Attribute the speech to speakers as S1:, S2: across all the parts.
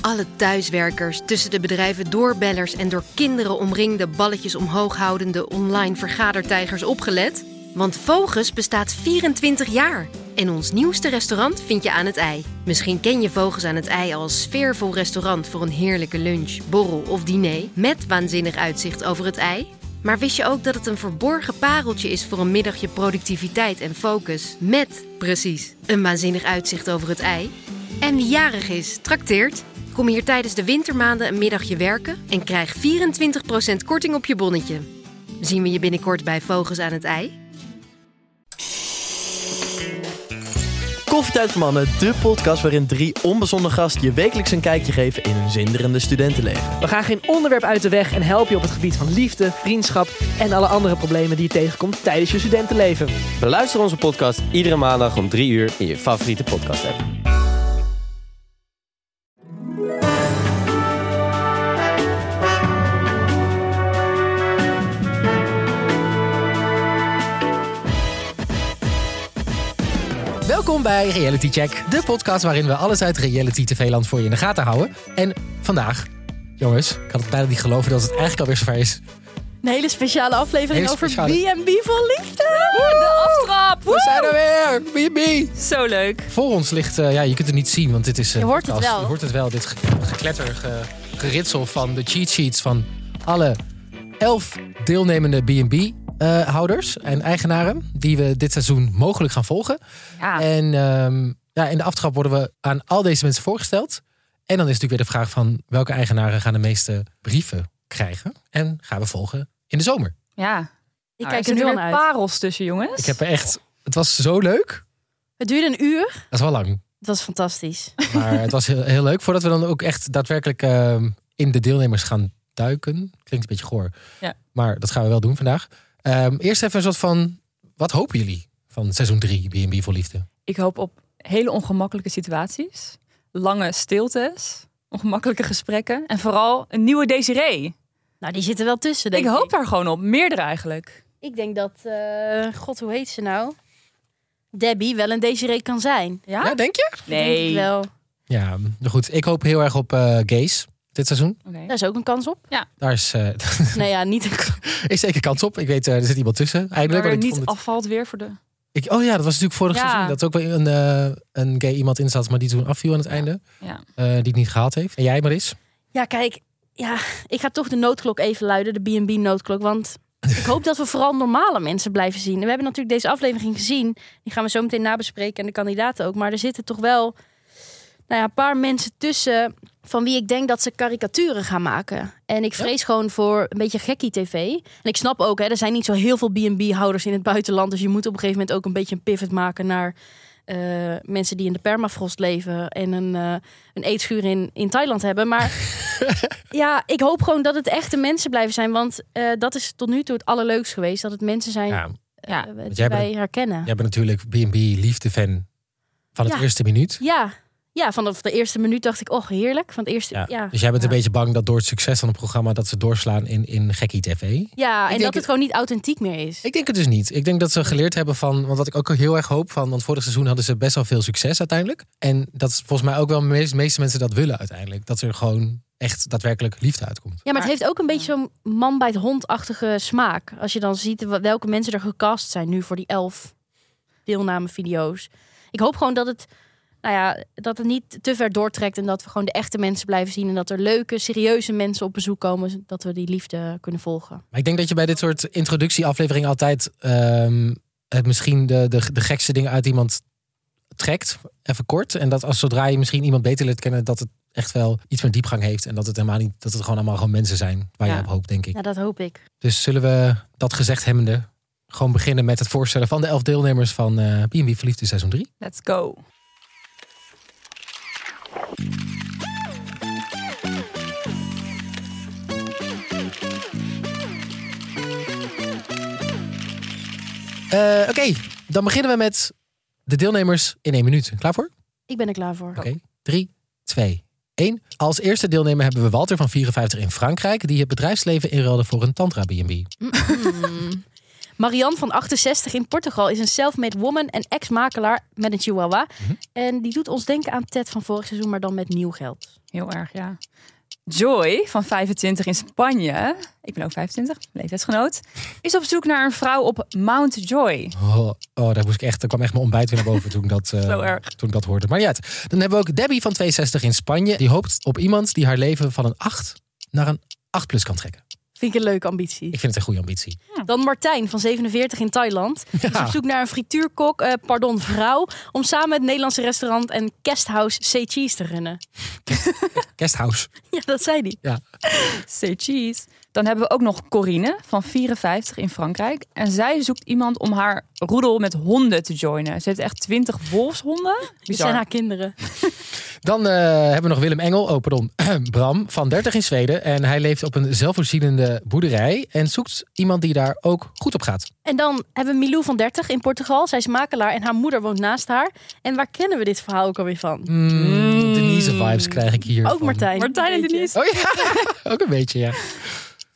S1: alle thuiswerkers, tussen de bedrijven doorbellers en door kinderen omringde balletjes omhoog houdende online vergadertijgers opgelet? Want Vogus bestaat 24 jaar en ons nieuwste restaurant vind je aan het ei. Misschien ken je Vogus aan het ei als sfeervol restaurant voor een heerlijke lunch, borrel of diner met waanzinnig uitzicht over het ei. Maar wist je ook dat het een verborgen pareltje is voor een middagje productiviteit en focus? Met, precies, een waanzinnig uitzicht over het ei. En wie jarig is, trakteert. Kom hier tijdens de wintermaanden een middagje werken en krijg 24% korting op je bonnetje. Zien we je binnenkort bij Vogels aan het Ei?
S2: Koffietijd voor Mannen, de podcast waarin drie onbezonnen gasten je wekelijks een kijkje geven in hun zinderende studentenleven.
S3: We gaan geen onderwerp uit de weg en helpen je op het gebied van liefde, vriendschap en alle andere problemen die je tegenkomt tijdens je studentenleven.
S4: Beluister onze podcast iedere maandag om 3 uur in je favoriete podcast app.
S5: Welkom bij Reality Check, de podcast waarin we alles uit reality tv-land voor je in de gaten houden. En vandaag, jongens, ik had het bijna niet geloven dat het eigenlijk alweer zover is.
S6: Een hele speciale aflevering
S5: Hele
S6: over
S5: speciale.
S6: B&B vol liefde. De aftrap.
S5: We zijn er weer! BB!
S6: Zo leuk.
S5: Voor ons ligt, eh, ja, je kunt het niet zien, want dit is. eh,
S6: Je hoort het
S5: podcast.
S6: wel.
S5: Je hoort het wel, dit ge- gekletter, ge- geritsel van de cheat sheets van alle elf deelnemende BB-houders eh, en eigenaren. die we dit seizoen mogelijk gaan volgen.
S6: Ja.
S5: En ehm, ja, in de aftrap worden we aan al deze mensen voorgesteld. En dan is natuurlijk weer de vraag van welke eigenaren gaan de meeste brieven krijgen. En gaan we volgen in de zomer.
S7: Ja.
S6: Ik
S7: Nou,
S6: kijk
S7: er
S6: er nu
S7: zitten
S6: al
S7: weer
S6: naar uit.
S7: parels tussen, jongens.
S5: Ik heb er echt, het was zo leuk.
S6: Het duurde een uur.
S5: Dat is wel lang.
S6: Het was fantastisch.
S5: Maar het was heel, heel leuk. Voordat we dan ook echt daadwerkelijk ehm, in de deelnemers gaan duiken. Klinkt een beetje goor.
S7: Ja.
S5: Maar dat gaan we wel doen vandaag. Ehm, eerst even een soort van, wat hopen jullie van seizoen 3 B&B voor Liefde?
S7: Ik hoop op hele ongemakkelijke situaties, lange stiltes, ongemakkelijke gesprekken en vooral een nieuwe Desiree.
S6: Nou, die zitten wel tussen, denk
S7: Ik
S6: ik.
S7: hoop daar gewoon op, meerdere eigenlijk.
S6: Ik denk dat... eh, God, hoe heet ze nou? Debbie wel een Desiree kan zijn.
S7: Ja?
S5: Ja, denk je?
S6: Denk ik
S7: nee.
S6: wel.
S5: Ja, goed. Ik hoop heel erg op eh gays dit seizoen.
S7: Oké.
S6: Daar is ook een kans op.
S5: Daar is, eh,
S6: nou ja, niet een kans.
S5: is zeker kans op. Ik weet, eh, er zit iemand tussen. Eindelijk.
S7: Maar
S5: want
S7: er
S5: ik
S7: niet
S5: vond het-
S7: afvalt weer voor de...
S5: ik, oh ja, dat was natuurlijk vorig
S7: Ja.
S5: seizoen. Dat ook wel een, eh, een gay iemand in zat, maar die toen afviel aan het einde.
S7: Ja.
S5: Eh, die het niet gehaald heeft. En jij maar eens.
S6: Ja, kijk. Ja, ik ga toch de noodklok even luiden. De B&B noodklok. Want ik hoop dat we vooral normale mensen blijven zien. En we hebben natuurlijk deze aflevering gezien. Die gaan we zo meteen nabespreken. En de kandidaten ook. Maar er zitten toch wel nou ja, een paar mensen tussen... van wie ik denk dat ze karikaturen gaan maken. En ik vrees gewoon voor een beetje gekkie tv. En ik snap ook, hè, er zijn niet zo heel veel B&B-houders in het buitenland. Dus je moet op een gegeven moment ook een beetje een pivot maken naar... eh, mensen die in de permafrost leven en een, eh, een eetschuur in, in Thailand hebben. Maar ja, ik hoop gewoon dat het echte mensen blijven zijn. Want eh, dat is tot nu toe het allerleukst geweest. Dat het mensen zijn
S5: Ja,
S6: eh,
S7: Ja,
S6: die
S5: jij
S6: wij
S5: bent-
S6: herkennen. Ja.
S5: Jij bent natuurlijk B&B liefde-fan van het
S6: Ja.
S5: eerste minuut.
S6: ja. vanaf de eerste minuut dacht ik, oh heerlijk. Van het eerste, ja. ja.
S5: Dus jij bent
S6: Ja.
S5: een beetje bang dat door het succes van het programma... dat ze doorslaan in, in gekkie tv.
S6: en
S5: denk
S6: dat
S5: het-
S6: het gewoon niet authentiek meer is.
S5: Ik denk het dus niet. Ik denk dat ze geleerd hebben van... want wat ik ook heel erg hoop van... want vorig seizoen hadden ze best wel veel succes uiteindelijk. En dat is volgens mij ook wel de meest- meeste mensen dat willen uiteindelijk. Dat er gewoon echt daadwerkelijk liefde uitkomt.
S6: Ja, maar het
S7: Maar-
S6: heeft ook een beetje zo'n man bij het hond-achtige smaak. Als je dan ziet wa- welke mensen er gecast zijn nu voor die elf deelnamevideo's. Ik hoop gewoon dat het, nou ja, dat het niet te ver doortrekt en dat we gewoon de echte mensen blijven zien. En dat er leuke, serieuze mensen op bezoek komen, zodat we die liefde kunnen volgen.
S5: Maar ik denk dat je bij dit soort introductieafleveringen altijd... ehm, het misschien de, de, de gekste dingen uit iemand trekt. Even kort. En dat als zodra je misschien iemand beter leert kennen... dat het echt wel iets meer diepgang heeft. En dat het helemaal niet... dat het gewoon allemaal gewoon mensen zijn waar je
S7: Ja.
S5: op hoopt, denk ik.
S6: Nou, dat hoop ik.
S5: Dus zullen we dat gezegd hebbende... gewoon beginnen met het voorstellen van de elf deelnemers... van eh B&B Verliefd in seizoen 3.
S7: Let's go.
S5: Eh, Oké, dan beginnen we met de deelnemers in één minuut. Klaar voor?
S6: Ik ben er klaar voor.
S5: Oké, 3, 2, 1. Als eerste deelnemer hebben we Walter van 54 in Frankrijk... die het bedrijfsleven inruilde voor een tantra B&B.
S6: Mm. Marianne van 68 in Portugal is een self-made woman en ex-makelaar met een chihuahua.
S5: Mhm.
S6: En die doet ons denken aan Ted van vorig seizoen, maar dan met nieuw geld.
S7: Heel erg, ja. Joy van 25 in Spanje, ik ben ook 25, leeftijdsgenoot, is op zoek naar een vrouw op Mount Joy.
S5: Oh, oh, daar moest ik echt. Daar kwam echt mijn ontbijt weer naar boven toen ik dat, eh,
S7: Zo erg.
S5: toen ik dat hoorde. Maar ja, het- dan hebben we ook Debbie van 62 in Spanje. Die hoopt op iemand die haar leven van een 8 naar een 8 plus kan trekken.
S6: Vind ik een leuke ambitie.
S5: Ik vind het een goede ambitie.
S6: Dan Martijn van 47 in Thailand. Is
S5: Ja.
S6: op zoek naar een frituurkok, eh, pardon, vrouw. Om samen het Nederlandse restaurant en guesthouse C Cheese te runnen.
S5: Guesthouse.
S6: Ja, dat zei hij.
S7: Say cheese. Dan hebben we ook nog Corine van 54 in Frankrijk. En zij zoekt iemand om haar roedel met honden te joinen. Ze heeft echt 20 wolfshonden. Dus
S6: Dat
S7: Bizar.
S6: zijn haar kinderen.
S5: Dan eh, hebben we nog Willem Engel, oh pardon, Bram, van 30 in Zweden. En hij leeft op een zelfvoorzienende boerderij. En zoekt iemand die daar ook goed op gaat.
S6: En dan hebben we Milou van 30 in Portugal. Zij is makelaar en haar moeder woont naast haar. En waar kennen we dit verhaal ook alweer van?
S5: Mm, Denise vibes krijg ik hier.
S6: Ook Martijn.
S7: Martijn en
S6: Weet je.
S7: Denise.
S5: Oh ja, ook een beetje, ja.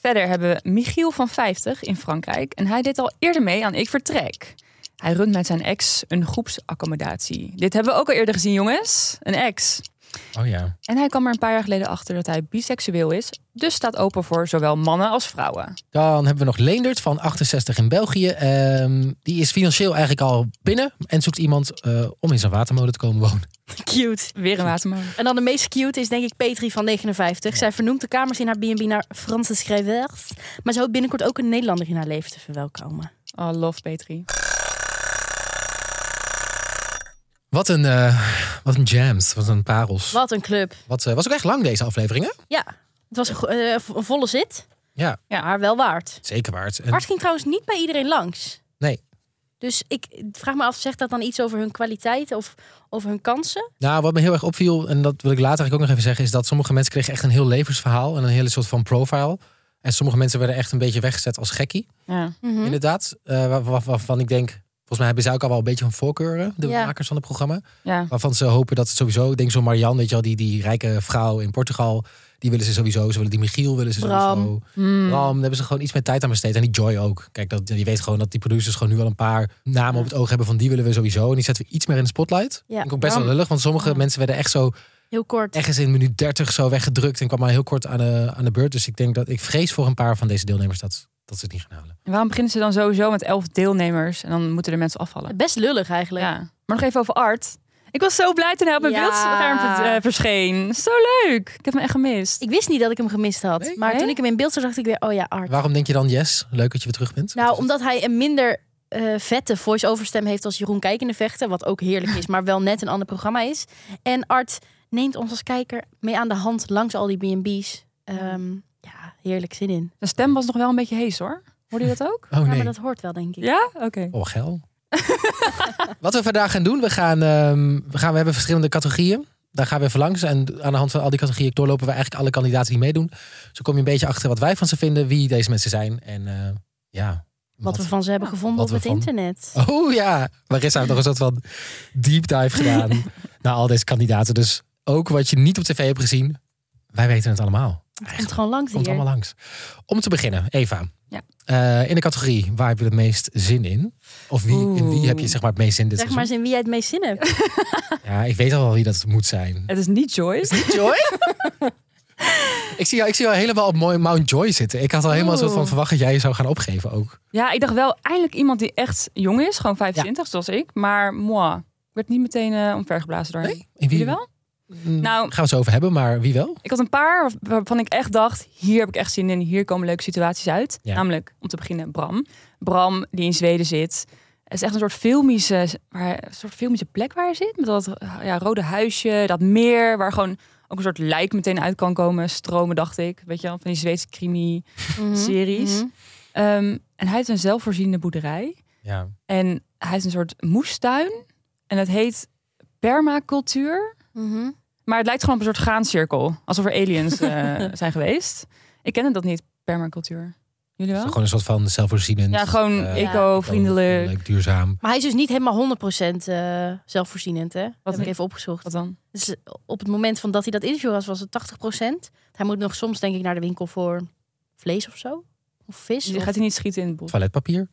S7: Verder hebben we Michiel van 50 in Frankrijk. En hij deed al eerder mee aan Ik Vertrek. Hij runt met zijn ex een groepsaccommodatie. Dit hebben we ook al eerder gezien, jongens. Een ex.
S5: Oh ja.
S7: En hij kwam er een paar jaar geleden achter dat hij biseksueel is. Dus staat open voor zowel mannen als vrouwen.
S5: Dan hebben we nog Leendert van 68 in België. Ehm, die is financieel eigenlijk al binnen en zoekt iemand eh, om in zijn watermolen te komen wonen.
S6: Cute.
S7: Weer een watermolen.
S6: En dan de meest cute is denk ik Petri van 59. Zij vernoemt de kamers in haar B&B naar Franse schrijvers. Maar ze hoopt binnenkort ook een Nederlander in haar leven te verwelkomen.
S7: Oh, love Petri.
S5: Wat een, eh, wat een jams, wat een parels.
S6: Wat een club.
S5: Wat, eh, was ook echt lang deze aflevering, hè?
S6: Ja, het was een, go- eh, een volle zit.
S5: Ja.
S6: Maar wel waard.
S5: Zeker waard. En-
S6: Hart ging trouwens niet bij iedereen langs.
S5: nee.
S6: Dus ik vraag me af, zegt dat dan iets over hun kwaliteit of over hun kansen?
S5: Nou, wat me heel erg opviel, en dat wil ik later eigenlijk ook nog even zeggen, is dat sommige mensen kregen echt een heel levensverhaal en een hele soort van profile. En sommige mensen werden echt een beetje weggezet als gekkie,
S7: Ja.
S6: Mhm.
S5: inderdaad. Eh, waar- waar- waarvan ik denk, volgens mij hebben zij ook al wel een beetje een voorkeuren, de
S6: Ja.
S5: makers van het programma.
S7: ja.
S5: Waarvan ze hopen dat ze sowieso, ik denk zo Marianne, weet je wel, die, die rijke vrouw in Portugal, die willen ze sowieso. Ze willen die Michiel, willen ze
S6: Bram. Hmm.
S5: sowieso.
S7: Mm.
S5: Bram, daar hebben ze gewoon iets meer tijd aan besteed. En die Joy ook. Kijk, dat, je weet gewoon dat die producers gewoon nu wel een paar namen op het oog hebben van die willen we sowieso. En die zetten we iets meer in de spotlight.
S6: Ja.
S5: Vind Ik ook best wel
S7: Bram.
S5: lullig, want sommige mensen werden echt zo,
S6: Heel kort.
S5: ergens in minuut 30 zo weggedrukt en kwam maar heel kort aan de, aan de beurt. Dus ik denk dat, ik vrees voor een paar van deze deelnemers dat, dat ze het niet gaan halen.
S7: En waarom beginnen ze dan sowieso met elf deelnemers en dan moeten de mensen afvallen?
S6: Best lullig eigenlijk.
S7: Ja. Maar nog even over Art. Ik was zo blij toen hij op mijn
S6: Ja.
S7: beeldscherm ver- eh, verscheen. Zo leuk. Ik heb hem echt gemist.
S6: Ik wist niet dat ik hem gemist had.
S5: Nee?
S6: maar
S7: Nee?
S6: toen ik hem in beeld zag, dacht ik weer, oh ja, Art.
S5: Waarom denk je dan yes? Leuk dat je weer terug bent.
S6: Nou, omdat hij een minder eh, vette voice-over stem heeft als Jeroen Kijk in de Vechten. Wat ook heerlijk is, maar wel net een ander programma is. En Art neemt ons als kijker mee aan de hand langs al die B&B's. Ehm, ja, heerlijk zin in.
S7: Zijn stem was nog wel een beetje hees hoor. Hoorde je dat ook?
S5: Oh
S6: Ja,
S5: nee.
S6: maar dat hoort wel, denk ik.
S7: Ja? Oké.
S5: Oh, geil. Wat we vandaag gaan doen, we gaan, ehm, we gaan, we hebben verschillende categorieën. Daar gaan we even langs. En aan de hand van al die categorieën doorlopen we eigenlijk alle kandidaten die meedoen. Zo kom je een beetje achter wat wij van ze vinden, wie deze mensen zijn. En eh, ja.
S6: Wat we van ze hebben gevonden
S5: wat
S6: op
S5: we
S6: het
S5: van-
S6: internet.
S5: Oh ja, Marissa heeft nog een soort van deep dive gedaan naar al deze kandidaten. Dus ook wat je niet op tv hebt gezien, wij weten het allemaal.
S6: Het komt gewoon langs
S5: Komt
S6: hier.
S5: allemaal langs. Om te beginnen, Eva.
S7: Ja.
S5: Eh, in de categorie, waar heb je het meest zin in? Of wie, in wie
S7: Oeh.
S5: heb je zeg maar, het meest zin dit
S6: Zeg maar eens in wie jij het meest zin hebt.
S5: seizoen? Ja, ik weet al wel wie dat moet zijn.
S7: Het is niet Joyce.
S5: Joy? ik, zie jou, ik zie jou helemaal op mooi Mount Joy zitten. Ik had al helemaal zo van
S7: Oeh.
S5: verwacht dat jij je zou gaan opgeven ook.
S7: Ja, ik dacht wel eindelijk iemand die echt jong is. Gewoon 25 zoals ik. Maar moi. Ik werd niet meteen eh omvergeblazen door hem.
S5: Nee? In
S7: Jullie wel?
S5: Mm,
S7: Nou-
S5: Gaan we het zo over hebben, maar wie wel?
S7: Ik had een paar waar- waarvan ik echt dacht, hier heb ik echt zin in, hier komen leuke situaties uit.
S5: Ja.
S7: Namelijk, om te beginnen, Bram. Bram, die in Zweden zit. Het is echt een soort filmische, waar, een soort filmische plek waar hij zit. Met dat ja, rode huisje, dat meer, waar gewoon ook een soort lijk meteen uit kan komen. Stromen, dacht ik. Weet je wel, van die Zweedse crimi-series. Ehm,
S6: Mhm.
S7: en hij heeft een zelfvoorziende boerderij.
S5: Ja.
S7: En hij heeft een soort moestuin. En het heet permacultuur.
S6: Mhm.
S7: Maar het lijkt gewoon op een soort graancirkel. Alsof er aliens eh, zijn geweest. Ik kende dat niet, permacultuur. Jullie wel?
S5: Gewoon een soort van zelfvoorzienend.
S7: Ja, gewoon
S5: eh,
S7: eco-vriendelijk.
S5: Leuk, duurzaam.
S6: Maar hij is dus niet helemaal 100% eh zelfvoorzienend, hè? Dat heb ik
S7: niet?
S6: even opgezocht.
S7: Wat dan?
S6: Dus op het moment van dat hij dat interview was, was het 80%. Hij moet nog soms, denk ik, naar de winkel voor vlees of zo. Of vis.
S7: Je
S6: of-
S7: gaat hij niet schieten in het bos.
S5: Toiletpapier.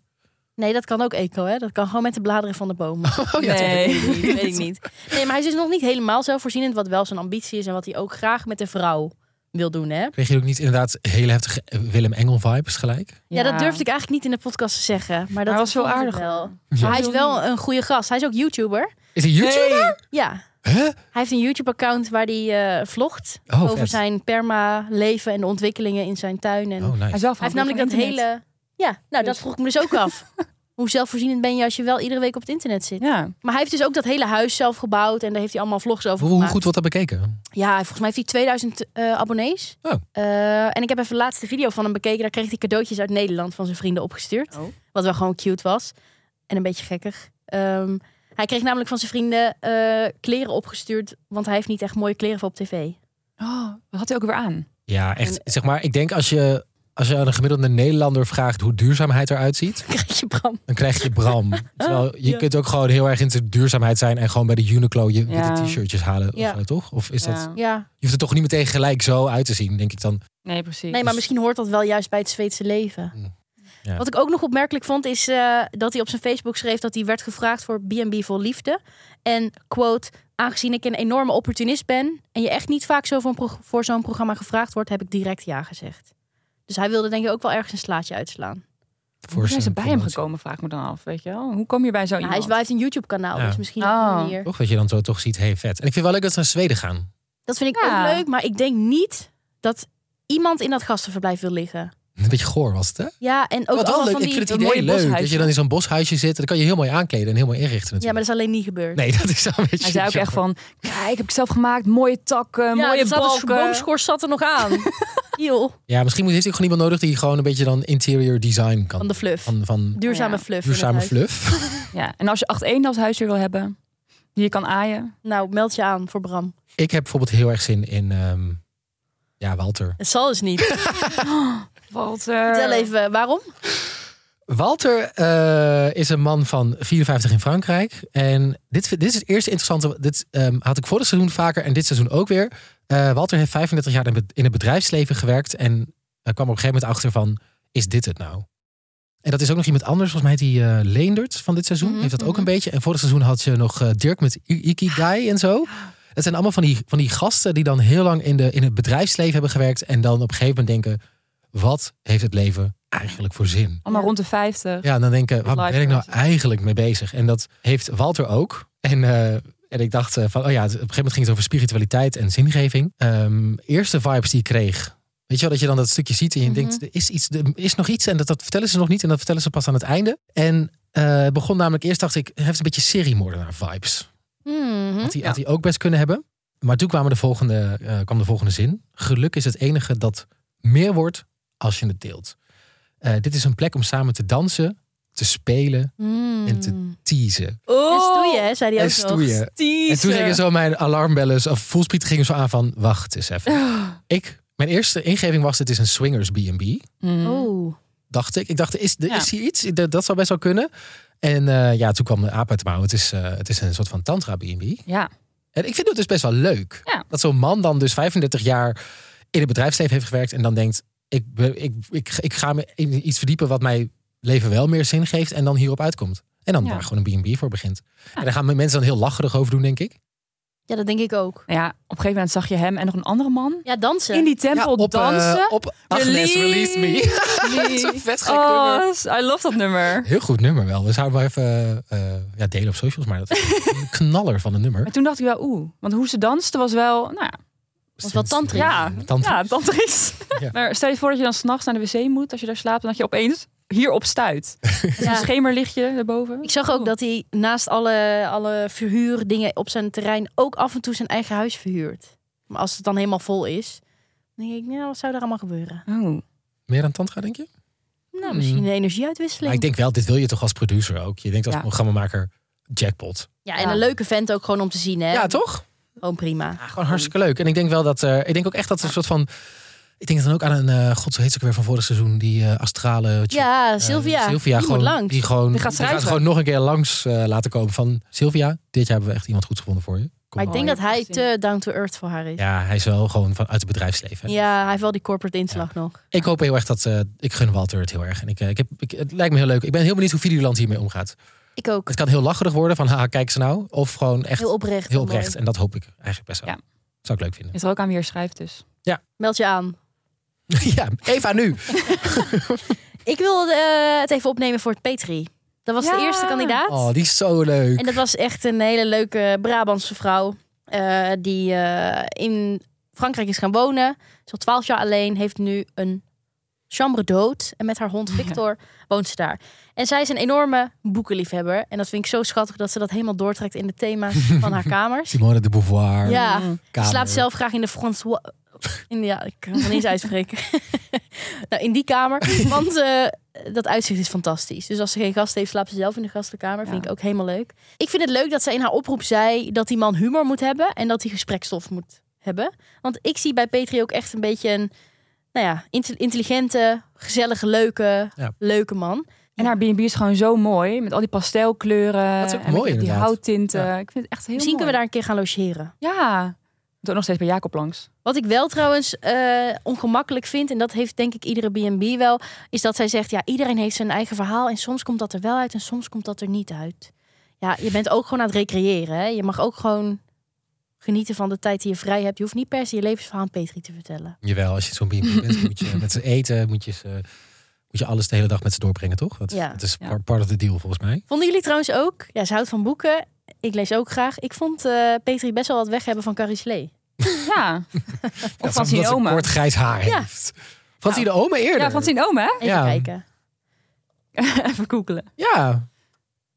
S6: Nee, dat kan ook eco, hè? Dat kan gewoon met de bladeren van de bomen. nee, weet ik niet, weet ik niet. Nee, maar hij is dus nog niet helemaal zelfvoorzienend, wat wel zijn ambitie is en wat hij ook graag met de vrouw wil doen, hè?
S5: Kreeg je ook niet inderdaad hele heftige eh, Willem Engel vibes gelijk?
S6: Ja, dat durfde ik eigenlijk niet in de podcast te zeggen. Maar dat
S7: hij was wel
S6: vond ik
S7: aardig,
S6: wel.
S5: Ja.
S6: Maar hij is wel een goede gast. Hij is ook YouTuber.
S5: Is hij YouTuber?
S6: Ja.
S5: Huh?
S6: Hij heeft een YouTube-account waar hij eh, vlogt
S5: Oh,
S6: over
S5: vet.
S6: zijn perma-leven en de ontwikkelingen in zijn tuin. En
S5: Oh,
S7: Hij
S5: nice.
S7: is wel
S6: Hij heeft
S7: van-
S6: namelijk dat
S7: van internet.
S6: hele... Ja, nou, dat vroeg ik me dus ook af. Hoe zelfvoorzienend ben je als je wel iedere week op het internet zit?
S7: Ja.
S6: Maar hij heeft dus ook dat hele huis zelf gebouwd. En daar heeft hij allemaal vlogs over
S5: Hoe, hoe
S6: gemaakt.
S5: goed wordt dat bekeken?
S6: Ja, volgens mij heeft hij 2000 eh, abonnees.
S5: Oh.
S6: Eh, en ik heb even de laatste video van hem bekeken. Daar kreeg hij cadeautjes uit Nederland van zijn vrienden opgestuurd.
S7: Oh.
S6: Wat wel gewoon cute was. En een beetje gekkig. Ehm, hij kreeg namelijk van zijn vrienden eh, kleren opgestuurd. Want hij heeft niet echt mooie kleren voor op tv.
S7: Oh, wat had hij ook weer aan?
S5: Ja, echt. Zeg maar, ik denk als je, als je aan een gemiddelde Nederlander vraagt hoe duurzaamheid eruit ziet,
S6: Krijg je Bram.
S5: dan krijg je Bram. Terwijl je kunt ook gewoon heel erg into duurzaamheid zijn en gewoon bij de Uniqlo je witte
S7: Ja.
S5: t-shirtjes halen.
S6: Ja.
S5: Of zo, toch? Of is dat.
S7: Ja.
S6: Ja.
S5: Je hoeft er toch niet meteen gelijk zo uit te zien, denk ik dan.
S7: Nee, dus- Mm. precies.
S6: Nee,
S5: Dus
S6: maar misschien hoort dat wel juist bij het Zweedse leven.
S5: Ja.
S6: Wat ik ook nog opmerkelijk vond is eh, dat hij op zijn Facebook schreef dat hij werd gevraagd voor B&B voor liefde. En quote, aangezien ik een enorme opportunist ben en je echt niet vaak zo voor, een pro- voor zo'n programma gevraagd wordt, heb ik direct ja gezegd. Dus hij wilde denk ik ook wel ergens een slaatje
S7: Oh,
S6: uitslaan. Nou,
S5: voor
S7: Hoe zijn ze
S5: zijn
S7: bij hem
S5: promotie.
S7: gekomen, vraag ik me dan af. Weet je wel? Hoe kom je bij zo
S6: Nou,
S7: iemand?
S6: hij, is, wel- hij heeft een YouTube kanaal,
S5: Ja.
S6: dus misschien
S7: Oh.
S6: op die manier.
S5: Toch dat je dan zo toch ziet, hey vet. En ik vind wel leuk dat ze naar Zweden gaan.
S6: Dat vind ik
S7: Ja.
S6: ook leuk, maar ik denk niet dat iemand in dat gastenverblijf wil liggen.
S5: Een beetje goor was het, hè?
S6: Ja, en ook
S5: Wat wel
S6: allemaal
S5: leuk.
S6: van
S5: Ik
S6: die...
S5: vind het
S7: dat
S5: idee
S7: mooie
S5: leuk dat
S7: boshuisje.
S5: je dan in zo'n boshuisje zit. Dan kan je heel mooi aankleden en heel mooi inrichten
S6: Ja, maar
S5: natuurlijk.
S6: dat is alleen niet gebeurd.
S5: Nee, dat is dan een beetje
S7: Hij zei ook echt
S5: jammer.
S7: van, kijk, heb ik zelf gemaakt, mooie takken,
S6: Ja,
S7: mooie
S6: dat zat een
S7: balken.
S6: boomschors zat er nog aan. Joh,
S5: Ja, misschien moet- heeft hij ook gewoon iemand nodig die gewoon een beetje dan interior design kan.
S6: van de fluff.
S5: Van, van
S6: Duurzame
S7: Ja.
S6: fluff. in
S5: duurzame
S6: het huis.
S5: fluff.
S7: Ja, en als je 8-1 als huisdier wil hebben, die je kan aaien.
S6: Nou, meld je aan voor Bram.
S5: Ik heb bijvoorbeeld heel erg zin in... ehm, ja, Walter.
S6: Het zal dus niet. Eh,
S7: Walter.
S6: Vertel even waarom.
S5: Walter eh, is een man van 54 in Frankrijk. En dit, vind- dit is het eerste interessante. Dit ehm, had ik vorig seizoen vaker en dit seizoen ook weer. Eh, Walter heeft 35 jaar in het- in het bedrijfsleven gewerkt. En hij kwam op een gegeven moment achter van, is dit het nou? En dat is ook nog iemand anders. Volgens mij heet die eh, Leendert van dit seizoen.
S6: Mhm,
S5: heeft dat ook
S6: mhm.
S5: een beetje. En vorig seizoen had je nog eh, Dirk met I- Ikigai en zo. Het zijn allemaal van die, van die gasten die dan heel lang in, de, in het bedrijfsleven hebben gewerkt. En dan op een gegeven moment denken, wat heeft het leven eigenlijk voor zin?
S7: Allemaal rond de 50.
S5: Ja, en dan denken, waar
S7: Life
S5: ben ik nou
S7: crisis.
S5: eigenlijk mee bezig? En dat heeft Walter ook. En, eh, en ik dacht eh, van, oh ja, op een gegeven moment ging het over spiritualiteit en zingeving. Ehm, eerste vibes die ik kreeg. Weet je wel, dat je dan dat stukje ziet en je
S6: Mhm.
S5: denkt, er is, iets, er is nog iets. En dat, dat vertellen ze nog niet en dat vertellen ze pas aan het einde. En eh, het begon namelijk eerst, dacht ik, hij heeft een beetje seriemoordenaar vibes.
S6: Mhm.
S5: Had hij, had hij ook best kunnen hebben. Maar toen kwamen de volgende, eh, kwam de volgende zin. Geluk is het enige dat meer wordt als je het deelt. Eh, dit is een plek om samen te dansen, te spelen
S6: Mm. Oh.
S5: En te- teasen.
S6: En stoeien, hè, zei hij
S5: en
S6: ook nog.
S5: stoeien. En toen gingen zo mijn alarmbellen, of voelsprieten gingen zo aan van, wacht eens even. Ik, mijn eerste ingeving was, het is een swingers B&B,
S7: Mm.
S6: Oeh.
S5: dacht ik. Ik dacht, is, er
S7: Ja.
S5: is hier iets? Dat, dat zou best wel kunnen. En eh, ja, toen kwam de aap uit de mouw. Het is, eh, het is een soort van tantra B&B.
S7: Ja.
S5: En ik vind het dus best wel leuk.
S7: Ja.
S5: Dat zo'n man dan dus 35 jaar in het bedrijfsleven heeft gewerkt. En dan denkt, ik, be- ik, ik, ik ga me in iets verdiepen wat mijn leven wel meer zin geeft. En dan hierop uitkomt. En dan
S7: Ja.
S5: daar gewoon een B&B voor begint. En daar gaan mensen dan heel lacherig over doen, denk ik.
S6: Ja, dat denk ik ook.
S7: Nou ja, op een gegeven moment zag je hem en nog een andere man.
S6: Ja, dansen.
S7: In die tempel
S5: eh,
S7: dansen.
S5: op Agnes Release Me. dat is een vet gek nummer.
S7: oh, I love dat nummer.
S5: Heel goed nummer wel. Dus zouden we even eh, ja, delen op socials. Maar dat is een knaller van een nummer.
S7: Maar toen dacht ik wel, oeh. Want hoe ze danste was wel, nou ja,
S5: Dat
S6: wel tantrisch.
S7: Ja,
S5: eh, tantra.
S7: ja tantrisch.
S5: Ja.
S7: Maar stel je voor dat je dan s'nachts naar de wc moet, als je daar slaapt, en dat je opeens hierop stuit. Met
S6: Ja.
S7: Een schemerlichtje erboven.
S6: Ik zag ook dat hij naast alle, alle verhuurdingen op zijn terrein ook af en toe zijn eigen huis verhuurt. Maar als het dan helemaal vol is, dan denk ik, nou, wat zou daar allemaal gebeuren?
S7: Oh.
S5: Meer dan tantra, denk je?
S6: Nou,
S5: Hmm.
S6: misschien een
S5: Maar ik
S6: energieuitwisseling.
S5: denk wel, dit wil je toch als producer ook. Je denkt als
S7: Ja.
S5: programmamaker, jackpot.
S6: Ja, en een leuke vent ook gewoon om te zien, hè?
S5: Ja, toch?
S6: Ah, Gewoon prima.
S5: Ja, gewoon Ah, hartstikke leuk. En ik denk wel dat er. Ik denk ook echt dat er een soort van. Ik denk dan ook aan een. eh God, zo heet ze ook weer van vorig seizoen. Die eh, astrale. eh,
S6: Ja, Sylvia.
S5: Sylvia
S6: die
S5: gewoon,
S6: moet langs.
S5: Die gewoon.
S7: Die gaat
S5: die
S7: schrijven.
S5: gewoon nog een keer langs eh, laten komen van. Sylvia, dit jaar hebben we echt iemand goed gevonden voor je.
S6: Maar ik denk
S7: Oh,
S6: dat
S7: je hebt
S6: hij
S7: het gezien.
S6: te down to earth voor haar is. Ja,
S5: Ja, hij is wel gewoon van, uit het bedrijfsleven.
S6: hij heeft wel die corporate inslag nog.
S5: Ik hoop heel erg dat... eh, ik gun Walter het heel erg. En ik, eh, ik heb, ik, het lijkt me heel leuk. Ik ben heel benieuwd hoe Videoland hiermee omgaat.
S6: Ik ook.
S5: Het kan heel lacherig worden van... Haha, kijk ze nou. Of gewoon echt heel
S6: Heel
S5: oprecht.
S6: oprecht. mooi.
S5: En dat hoop ik eigenlijk best wel.
S7: Ja.
S5: Zou ik leuk vinden.
S7: Is er ook aan wie er schrijft dus.
S6: Meld je aan.
S5: ja, Eva nu.
S6: Ik wil eh, het even opnemen voor het Petri. Dat was
S7: Ja.
S6: de eerste kandidaat.
S5: Oh, die is zo leuk.
S6: En dat was echt een hele leuke Brabantse vrouw. eh, die eh, in Frankrijk is gaan wonen. Ze al twaalf jaar alleen. Heeft nu een chambre d'hôte. En met haar hond Victor woont ze daar. En zij is een enorme boekenliefhebber. En dat vind ik zo schattig dat ze dat helemaal doortrekt in de thema's van haar kamers.
S5: Simone de Beauvoir.
S6: Ja,
S5: Kamer.
S6: ze slaapt zelf graag in de François... In, ja, ik kan het niet eens uitspreken. nou, in die kamer. Want eh, dat uitzicht is fantastisch. Dus als ze geen gast heeft, slaapt ze zelf in de gastenkamer. Vind
S7: Ja.
S6: ik ook helemaal leuk. Ik vind het leuk dat zij in haar oproep zei dat die man humor moet hebben. En dat hij gesprekstof moet hebben. Want ik zie bij Petri ook echt een beetje een... Nou ja, inte- intelligente, gezellige, leuke,
S5: Ja.
S6: leuke man.
S7: En haar B&B is gewoon zo mooi. Met al die pastelkleuren.
S5: Dat is ook
S7: en met
S5: mooi,
S7: die- Die
S5: inderdaad.
S7: houttinten.
S5: Ja.
S7: Ik vind het echt heel
S6: Misschien
S7: mooi.
S6: kunnen we daar een keer gaan logeren.
S7: Ja. Doe nog steeds bij Jacob langs.
S6: Wat ik wel trouwens eh, ongemakkelijk vind, en dat heeft denk ik iedere B&B wel, is dat zij zegt, ja, iedereen heeft zijn eigen verhaal en soms komt dat er wel uit en soms komt dat er niet uit. Ja, je bent ook gewoon aan het recreëren. Hè? Je mag ook gewoon genieten van de tijd die je vrij hebt. Je hoeft niet per se je levensverhaal aan Petri te vertellen.
S5: Jawel, als je zo'n B&B bent, moet je met ze eten, moet je, ze, moet je alles de hele dag met ze doorbrengen, toch? Dat,
S6: Ja.
S5: dat is
S7: Ja.
S5: par- part of the deal, volgens mij.
S6: Vonden jullie trouwens ook? Ja, ze houdt van boeken. Ik lees ook graag. Ik vond eh, Petri best wel wat weg hebben van Carisley.
S7: Ja.
S5: Ja,
S7: of Francine
S5: omdat ze
S7: Ome.
S5: kort grijs haar
S6: Ja. Nou.
S5: heeft. Francine Ome eerder.
S7: Ja, Francine Ome, hè?
S6: Even
S5: Ja.
S6: kijken.
S7: Even googelen.
S5: Ja.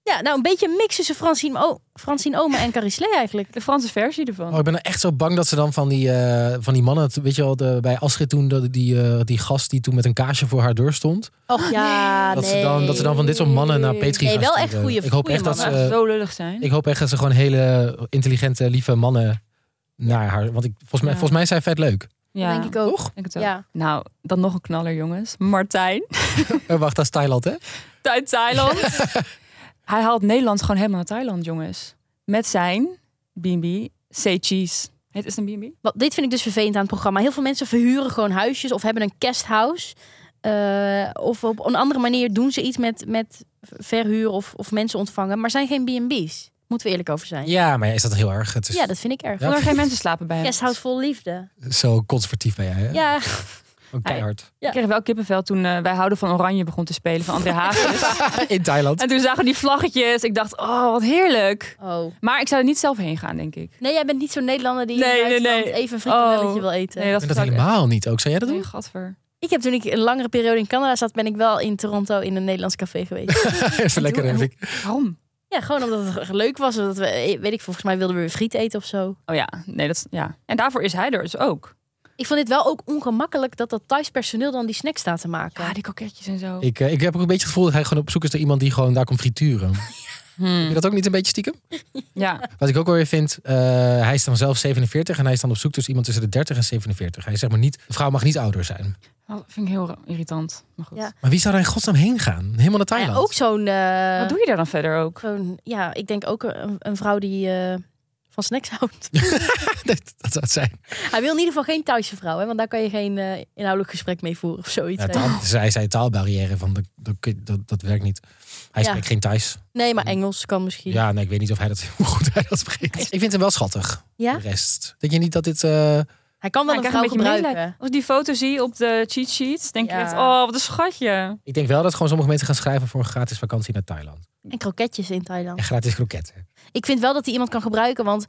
S6: Ja, nou een beetje een mix tussen Francine, o Francine Ome en Carisley eigenlijk.
S7: De Franse versie ervan.
S5: Oh, ik ben nou echt zo bang dat ze dan van die, eh, van die mannen... Weet je wel, de, bij Astrid toen, dat die, eh, die gast die toen met een kaarsje voor haar deur stond.
S6: Och ja,
S5: dat, ze
S6: nee.
S5: dan, dat ze dan van dit soort mannen naar Petri
S6: Ah, Nee,
S5: gaan
S6: wel
S5: sturen.
S6: echt goeie-
S5: ik hoop
S6: goeie
S5: echt dat
S7: Dat
S6: mannen.
S5: ze,
S7: zou zo lullig zijn.
S5: Ik hoop echt dat ze gewoon hele intelligente, lieve mannen naar haar... Want ik, volgens, mij,
S7: Ja.
S5: volgens mij is zij vet leuk.
S7: ja,
S6: denk ik ook.
S5: Toch?
S7: denk het ook.
S6: Ja.
S7: Nou, dan nog een knaller, jongens. Martijn.
S5: Eh, wacht, dat is Thailand, hè?
S7: Uit Thailand. Hij haalt Nederland gewoon helemaal naar Thailand, jongens. Met zijn B&B, Say Cheese. Het is een B&B.
S6: Wat, dit vind ik dus vervelend aan het programma. Heel veel mensen verhuren gewoon huisjes of hebben een guesthouse. Eh, of op een andere manier doen ze iets met, met verhuur of, of mensen ontvangen. Maar zijn geen B&B's. Moeten we eerlijk over zijn. Ja,
S5: Ja, maar ja, is dat heel erg? Het is
S6: dat vind ik erg.
S5: Ja.
S7: Kan er geen mensen slapen bij hem.
S6: Guesthouse vol liefde.
S5: zo conservatief ben jij, hè?
S6: Ja,
S5: Ook keihard.
S6: Ja.
S7: Ik kreeg wel kippenvel toen eh, Wij Houden van Oranje begon te spelen van André Hagens.
S5: In Thailand.
S7: en toen zagen we die vlaggetjes. Ik dacht, oh, wat heerlijk.
S6: oh.
S7: Maar ik zou er niet zelf heen gaan, denk ik.
S6: Nee, jij bent niet zo'n Nederlander die
S7: Nee,
S6: in
S7: nee,
S6: Duitsland
S7: nee.
S6: even een frikandelletje
S7: Oh.
S6: wil eten.
S7: Nee, dat,
S5: En dat
S7: zou ik-
S5: helemaal niet ook. Zou jij dat
S7: Nee,
S5: doen?
S7: gadver.
S6: Ik heb toen ik een langere periode in Canada zat, ben ik wel in Toronto in een Nederlands café geweest.
S5: Even lekker,
S7: doe-
S5: Henrik.
S7: Waarom?
S6: ja, gewoon omdat het leuk was. Omdat we, weet ik, volgens mij wilden we weer friet eten of zo.
S7: Oh ja, nee, dat is- ja. En daarvoor is hij er dus ook.
S6: Ik vond dit wel ook ongemakkelijk dat dat Thais personeel dan die snack staat te maken.
S7: Ja, die koketjes en zo.
S5: Ik, eh, ik heb ook een beetje het gevoel dat hij gewoon op zoek is naar iemand die gewoon daar komt frituren. Vind
S7: Hmm.
S5: je dat ook niet een beetje stiekem?
S7: Ja,
S5: Wat ik ook wel weer vind, eh, hij is dan zelf 47 en hij is dan op zoek tussen iemand tussen de 30 en 47. Hij zegt maar niet, de vrouw mag niet ouder zijn.
S7: dat vind ik heel ra- irritant. Maar goed.
S6: Ja.
S5: Maar wie zou daar in godsnaam heen gaan? Helemaal naar
S6: Maar ja,
S5: Thailand.
S6: ook zo'n. eh,
S7: Wat doe je daar dan verder ook?
S6: zo'n- ja, ik denk ook een, een vrouw die eh, van snacks houdt.
S5: dat, dat zou het zijn.
S6: Hij wil in ieder geval geen Thaise vrouw, hè, want daar kan je geen eh, inhoudelijk gesprek mee voeren of zoiets.
S5: Ja,
S6: hè.
S5: taal- zij zei taalbarrière, van dat, dat, dat, dat werkt niet. Hij
S6: Ja.
S5: spreekt geen Thais.
S6: Nee, maar Engels kan misschien.
S5: Ja, nee, ik weet niet of hij dat, hoe goed hij dat spreekt. Ik vind hem wel schattig,
S6: Ja?
S5: de rest. Denk je niet dat dit... eh,
S6: Hij kan wel
S7: Ja, ik
S6: een
S7: krijg
S6: vrouw gebruiken.
S7: medelijden. Als ik die foto zie op de cheat sheet, denk
S6: Ja.
S7: je echt, oh, wat een schatje.
S5: Ik denk wel dat gewoon sommige mensen gaan schrijven voor een gratis vakantie naar Thailand.
S6: En kroketjes in Thailand.
S5: En gratis kroketten.
S6: Ik vind wel dat hij iemand kan gebruiken, want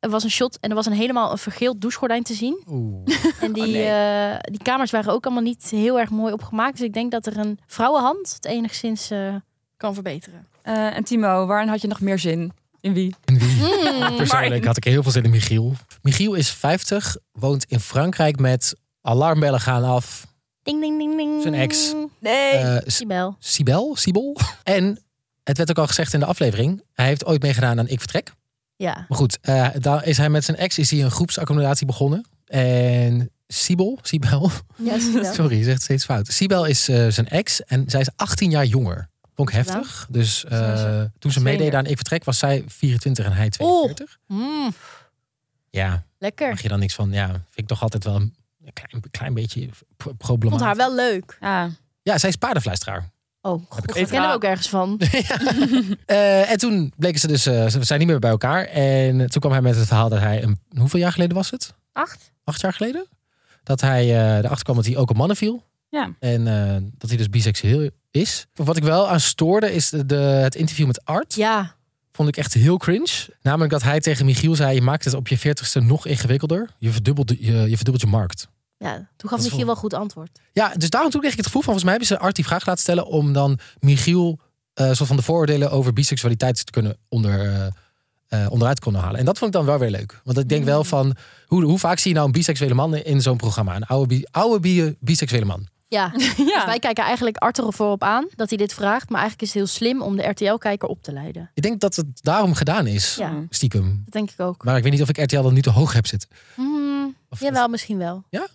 S6: er was een shot en er was een helemaal een vergeeld douchegordijn te zien.
S5: Oeh.
S6: En
S5: Oh,
S6: die,
S7: nee.
S6: eh, die kamers waren ook allemaal niet heel erg mooi opgemaakt. Dus ik denk dat er een vrouwenhand het enigszins eh, kan verbeteren.
S7: Eh, en Timo, waarin had je nog meer zin? In wie?
S5: En wie?
S6: Mm.
S5: Persoonlijk
S7: Marijn.
S5: had ik heel veel zin in Michiel. Michiel is 50, woont in Frankrijk met alarmbellen gaan af.
S6: Ding, ding, ding, ding.
S5: Zijn ex.
S7: Nee.
S5: Eh, S-
S6: Die bel.
S5: Sibel? Sibel? En het werd ook al gezegd in de aflevering. Hij heeft ooit meegedaan aan Ik Vertrek.
S6: Ja.
S5: Maar goed, eh, daar is hij met zijn ex is hij een groepsaccommodatie begonnen. En Sibel, Sibel,
S6: Ja, zie je wel.
S5: sorry, je zegt steeds fout. Sibel is eh, zijn ex en zij is 18 jaar jonger. Vond ik heftig. Dus eh,
S7: Zijn ze
S5: toen ze meedeed aan
S7: tweeëndertig?
S5: Ik Vertrek was zij 24 en hij 42.
S6: Mm.
S5: Ja,
S6: Lekker.
S5: mag je dan niks van. Ja, vind ik toch altijd wel een klein, klein beetje pro- problematisch.
S6: Vond haar wel leuk.
S7: Ja.
S5: Ja, zij is paardenfluisteraar.
S6: Oh, god, ik
S7: even
S6: ken er
S7: aan.
S6: ook ergens van.
S5: Eh, en toen bleken ze dus, eh, ze zijn niet meer bij elkaar. En toen kwam hij met het verhaal dat hij, een, hoeveel jaar geleden was het?
S6: Acht?
S5: Acht jaar geleden? Dat hij eh, erachter kwam dat hij ook op mannen viel.
S7: Ja.
S5: En eh, dat hij dus biseksueel is. Wat ik wel aan stoorde is de, de- het interview met Art.
S6: Ja.
S5: Vond ik echt heel cringe. Namelijk dat hij tegen Michiel zei, je maakt het op je veertigste nog ingewikkelder. Je verdubbelt, je, je verdubbelt je markt.
S6: ja. Toen gaf
S5: is
S6: Michiel
S5: wel-
S6: wel goed antwoord.
S5: Ja, dus daarom toen kreeg ik het gevoel van, volgens mij hebben ze Art die vraag laten stellen om dan Michiel eh soort van de vooroordelen over biseksualiteit te kunnen onder, eh, eh, onderuit kunnen halen. En dat vond ik dan wel weer leuk. Want ik denk wel van, hoe, hoe vaak zie je nou een biseksuele man in zo'n programma? Een oude, bi- oude bi- eh, biseksuele man.
S6: Ja. Dus
S7: ja.
S6: wij kijken eigenlijk Arthur ervoor op aan dat hij dit vraagt. Maar eigenlijk is het heel slim om de RTL-kijker op te leiden.
S5: Ik denk dat het daarom gedaan is,
S6: Ja, dat
S5: stiekem.
S6: denk ik ook.
S5: Maar ik weet niet of ik RTL dan nu te hoog heb zitten.
S6: Hmm,
S5: Of-
S6: jawel, misschien wel.
S5: Ja?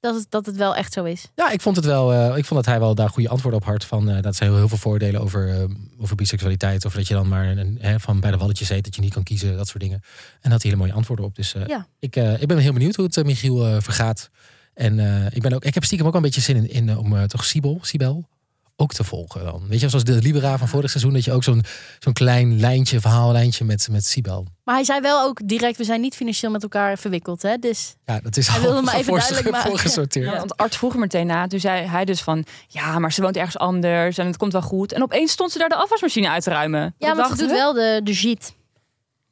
S6: Dat het, dat het wel echt zo is.
S5: Ja, ik vond het wel. eh, ik vond dat hij wel daar goede antwoorden op had. Van eh, dat zijn heel veel voordelen over, eh, over biseksualiteit. Of dat je dan maar een, een- hè, van bij de walletjes eet dat je niet kan kiezen, dat soort dingen. En had hij hele mooie antwoorden op. Dus eh,
S6: Ja.
S5: ik, eh, ik ben heel benieuwd hoe het eh, Michiel eh, vergaat. En eh, ik, ben ook, ik heb stiekem ook wel een beetje zin in, in eh, om eh, toch Sibel, Sibel ook te volgen. Dan. Weet je, zoals de Libera van vorig seizoen, dat je ook zo'n zo'n klein lijntje, verhaallijntje met, met Sibel.
S6: Maar hij zei wel ook direct, we zijn niet financieel met elkaar verwikkeld. Hè? Dus
S5: Ja, dat is
S6: Hij wilde
S5: al
S6: maar even
S5: voor-
S6: duidelijk maken.
S5: voorgesorteerd.
S7: Ja, want Art vroeg er meteen na. Toen zei hij dus van, ja, maar ze woont ergens anders en het komt wel goed. En opeens stond ze daar de afwasmachine uit te ruimen.
S6: ja,
S7: Ik
S6: want het
S7: dacht,
S6: doet
S7: huh?
S6: wel de, de giet.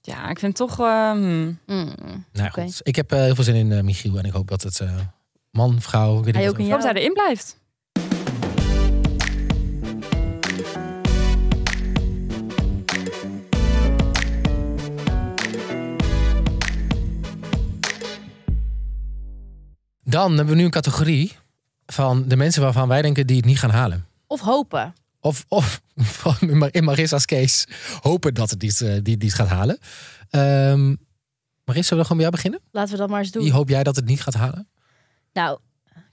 S7: Ja, ik vind toch... eh, hmm.
S6: Hmm.
S5: Nou,
S6: Oké.
S5: goed. Ik heb eh, heel veel zin in eh, Michiel en ik hoop dat het eh, man, vrouw, ik weet
S6: Hij
S5: niet
S6: ook
S5: wat
S6: in
S7: Ik
S6: jou.
S7: hoop dat hij erin blijft.
S5: over- Dan hebben we nu een categorie van de mensen waarvan wij denken die het niet gaan halen.
S6: Of hopen.
S5: Of, of van in Mar- in Marissa's case hopen dat het die, eh, die, die het gaat halen. Ehm Marissa, zullen we dan gewoon bij jou beginnen?
S6: Laten we dat maar eens doen.
S5: Wie hoop jij dat het niet gaat halen?
S6: Nou,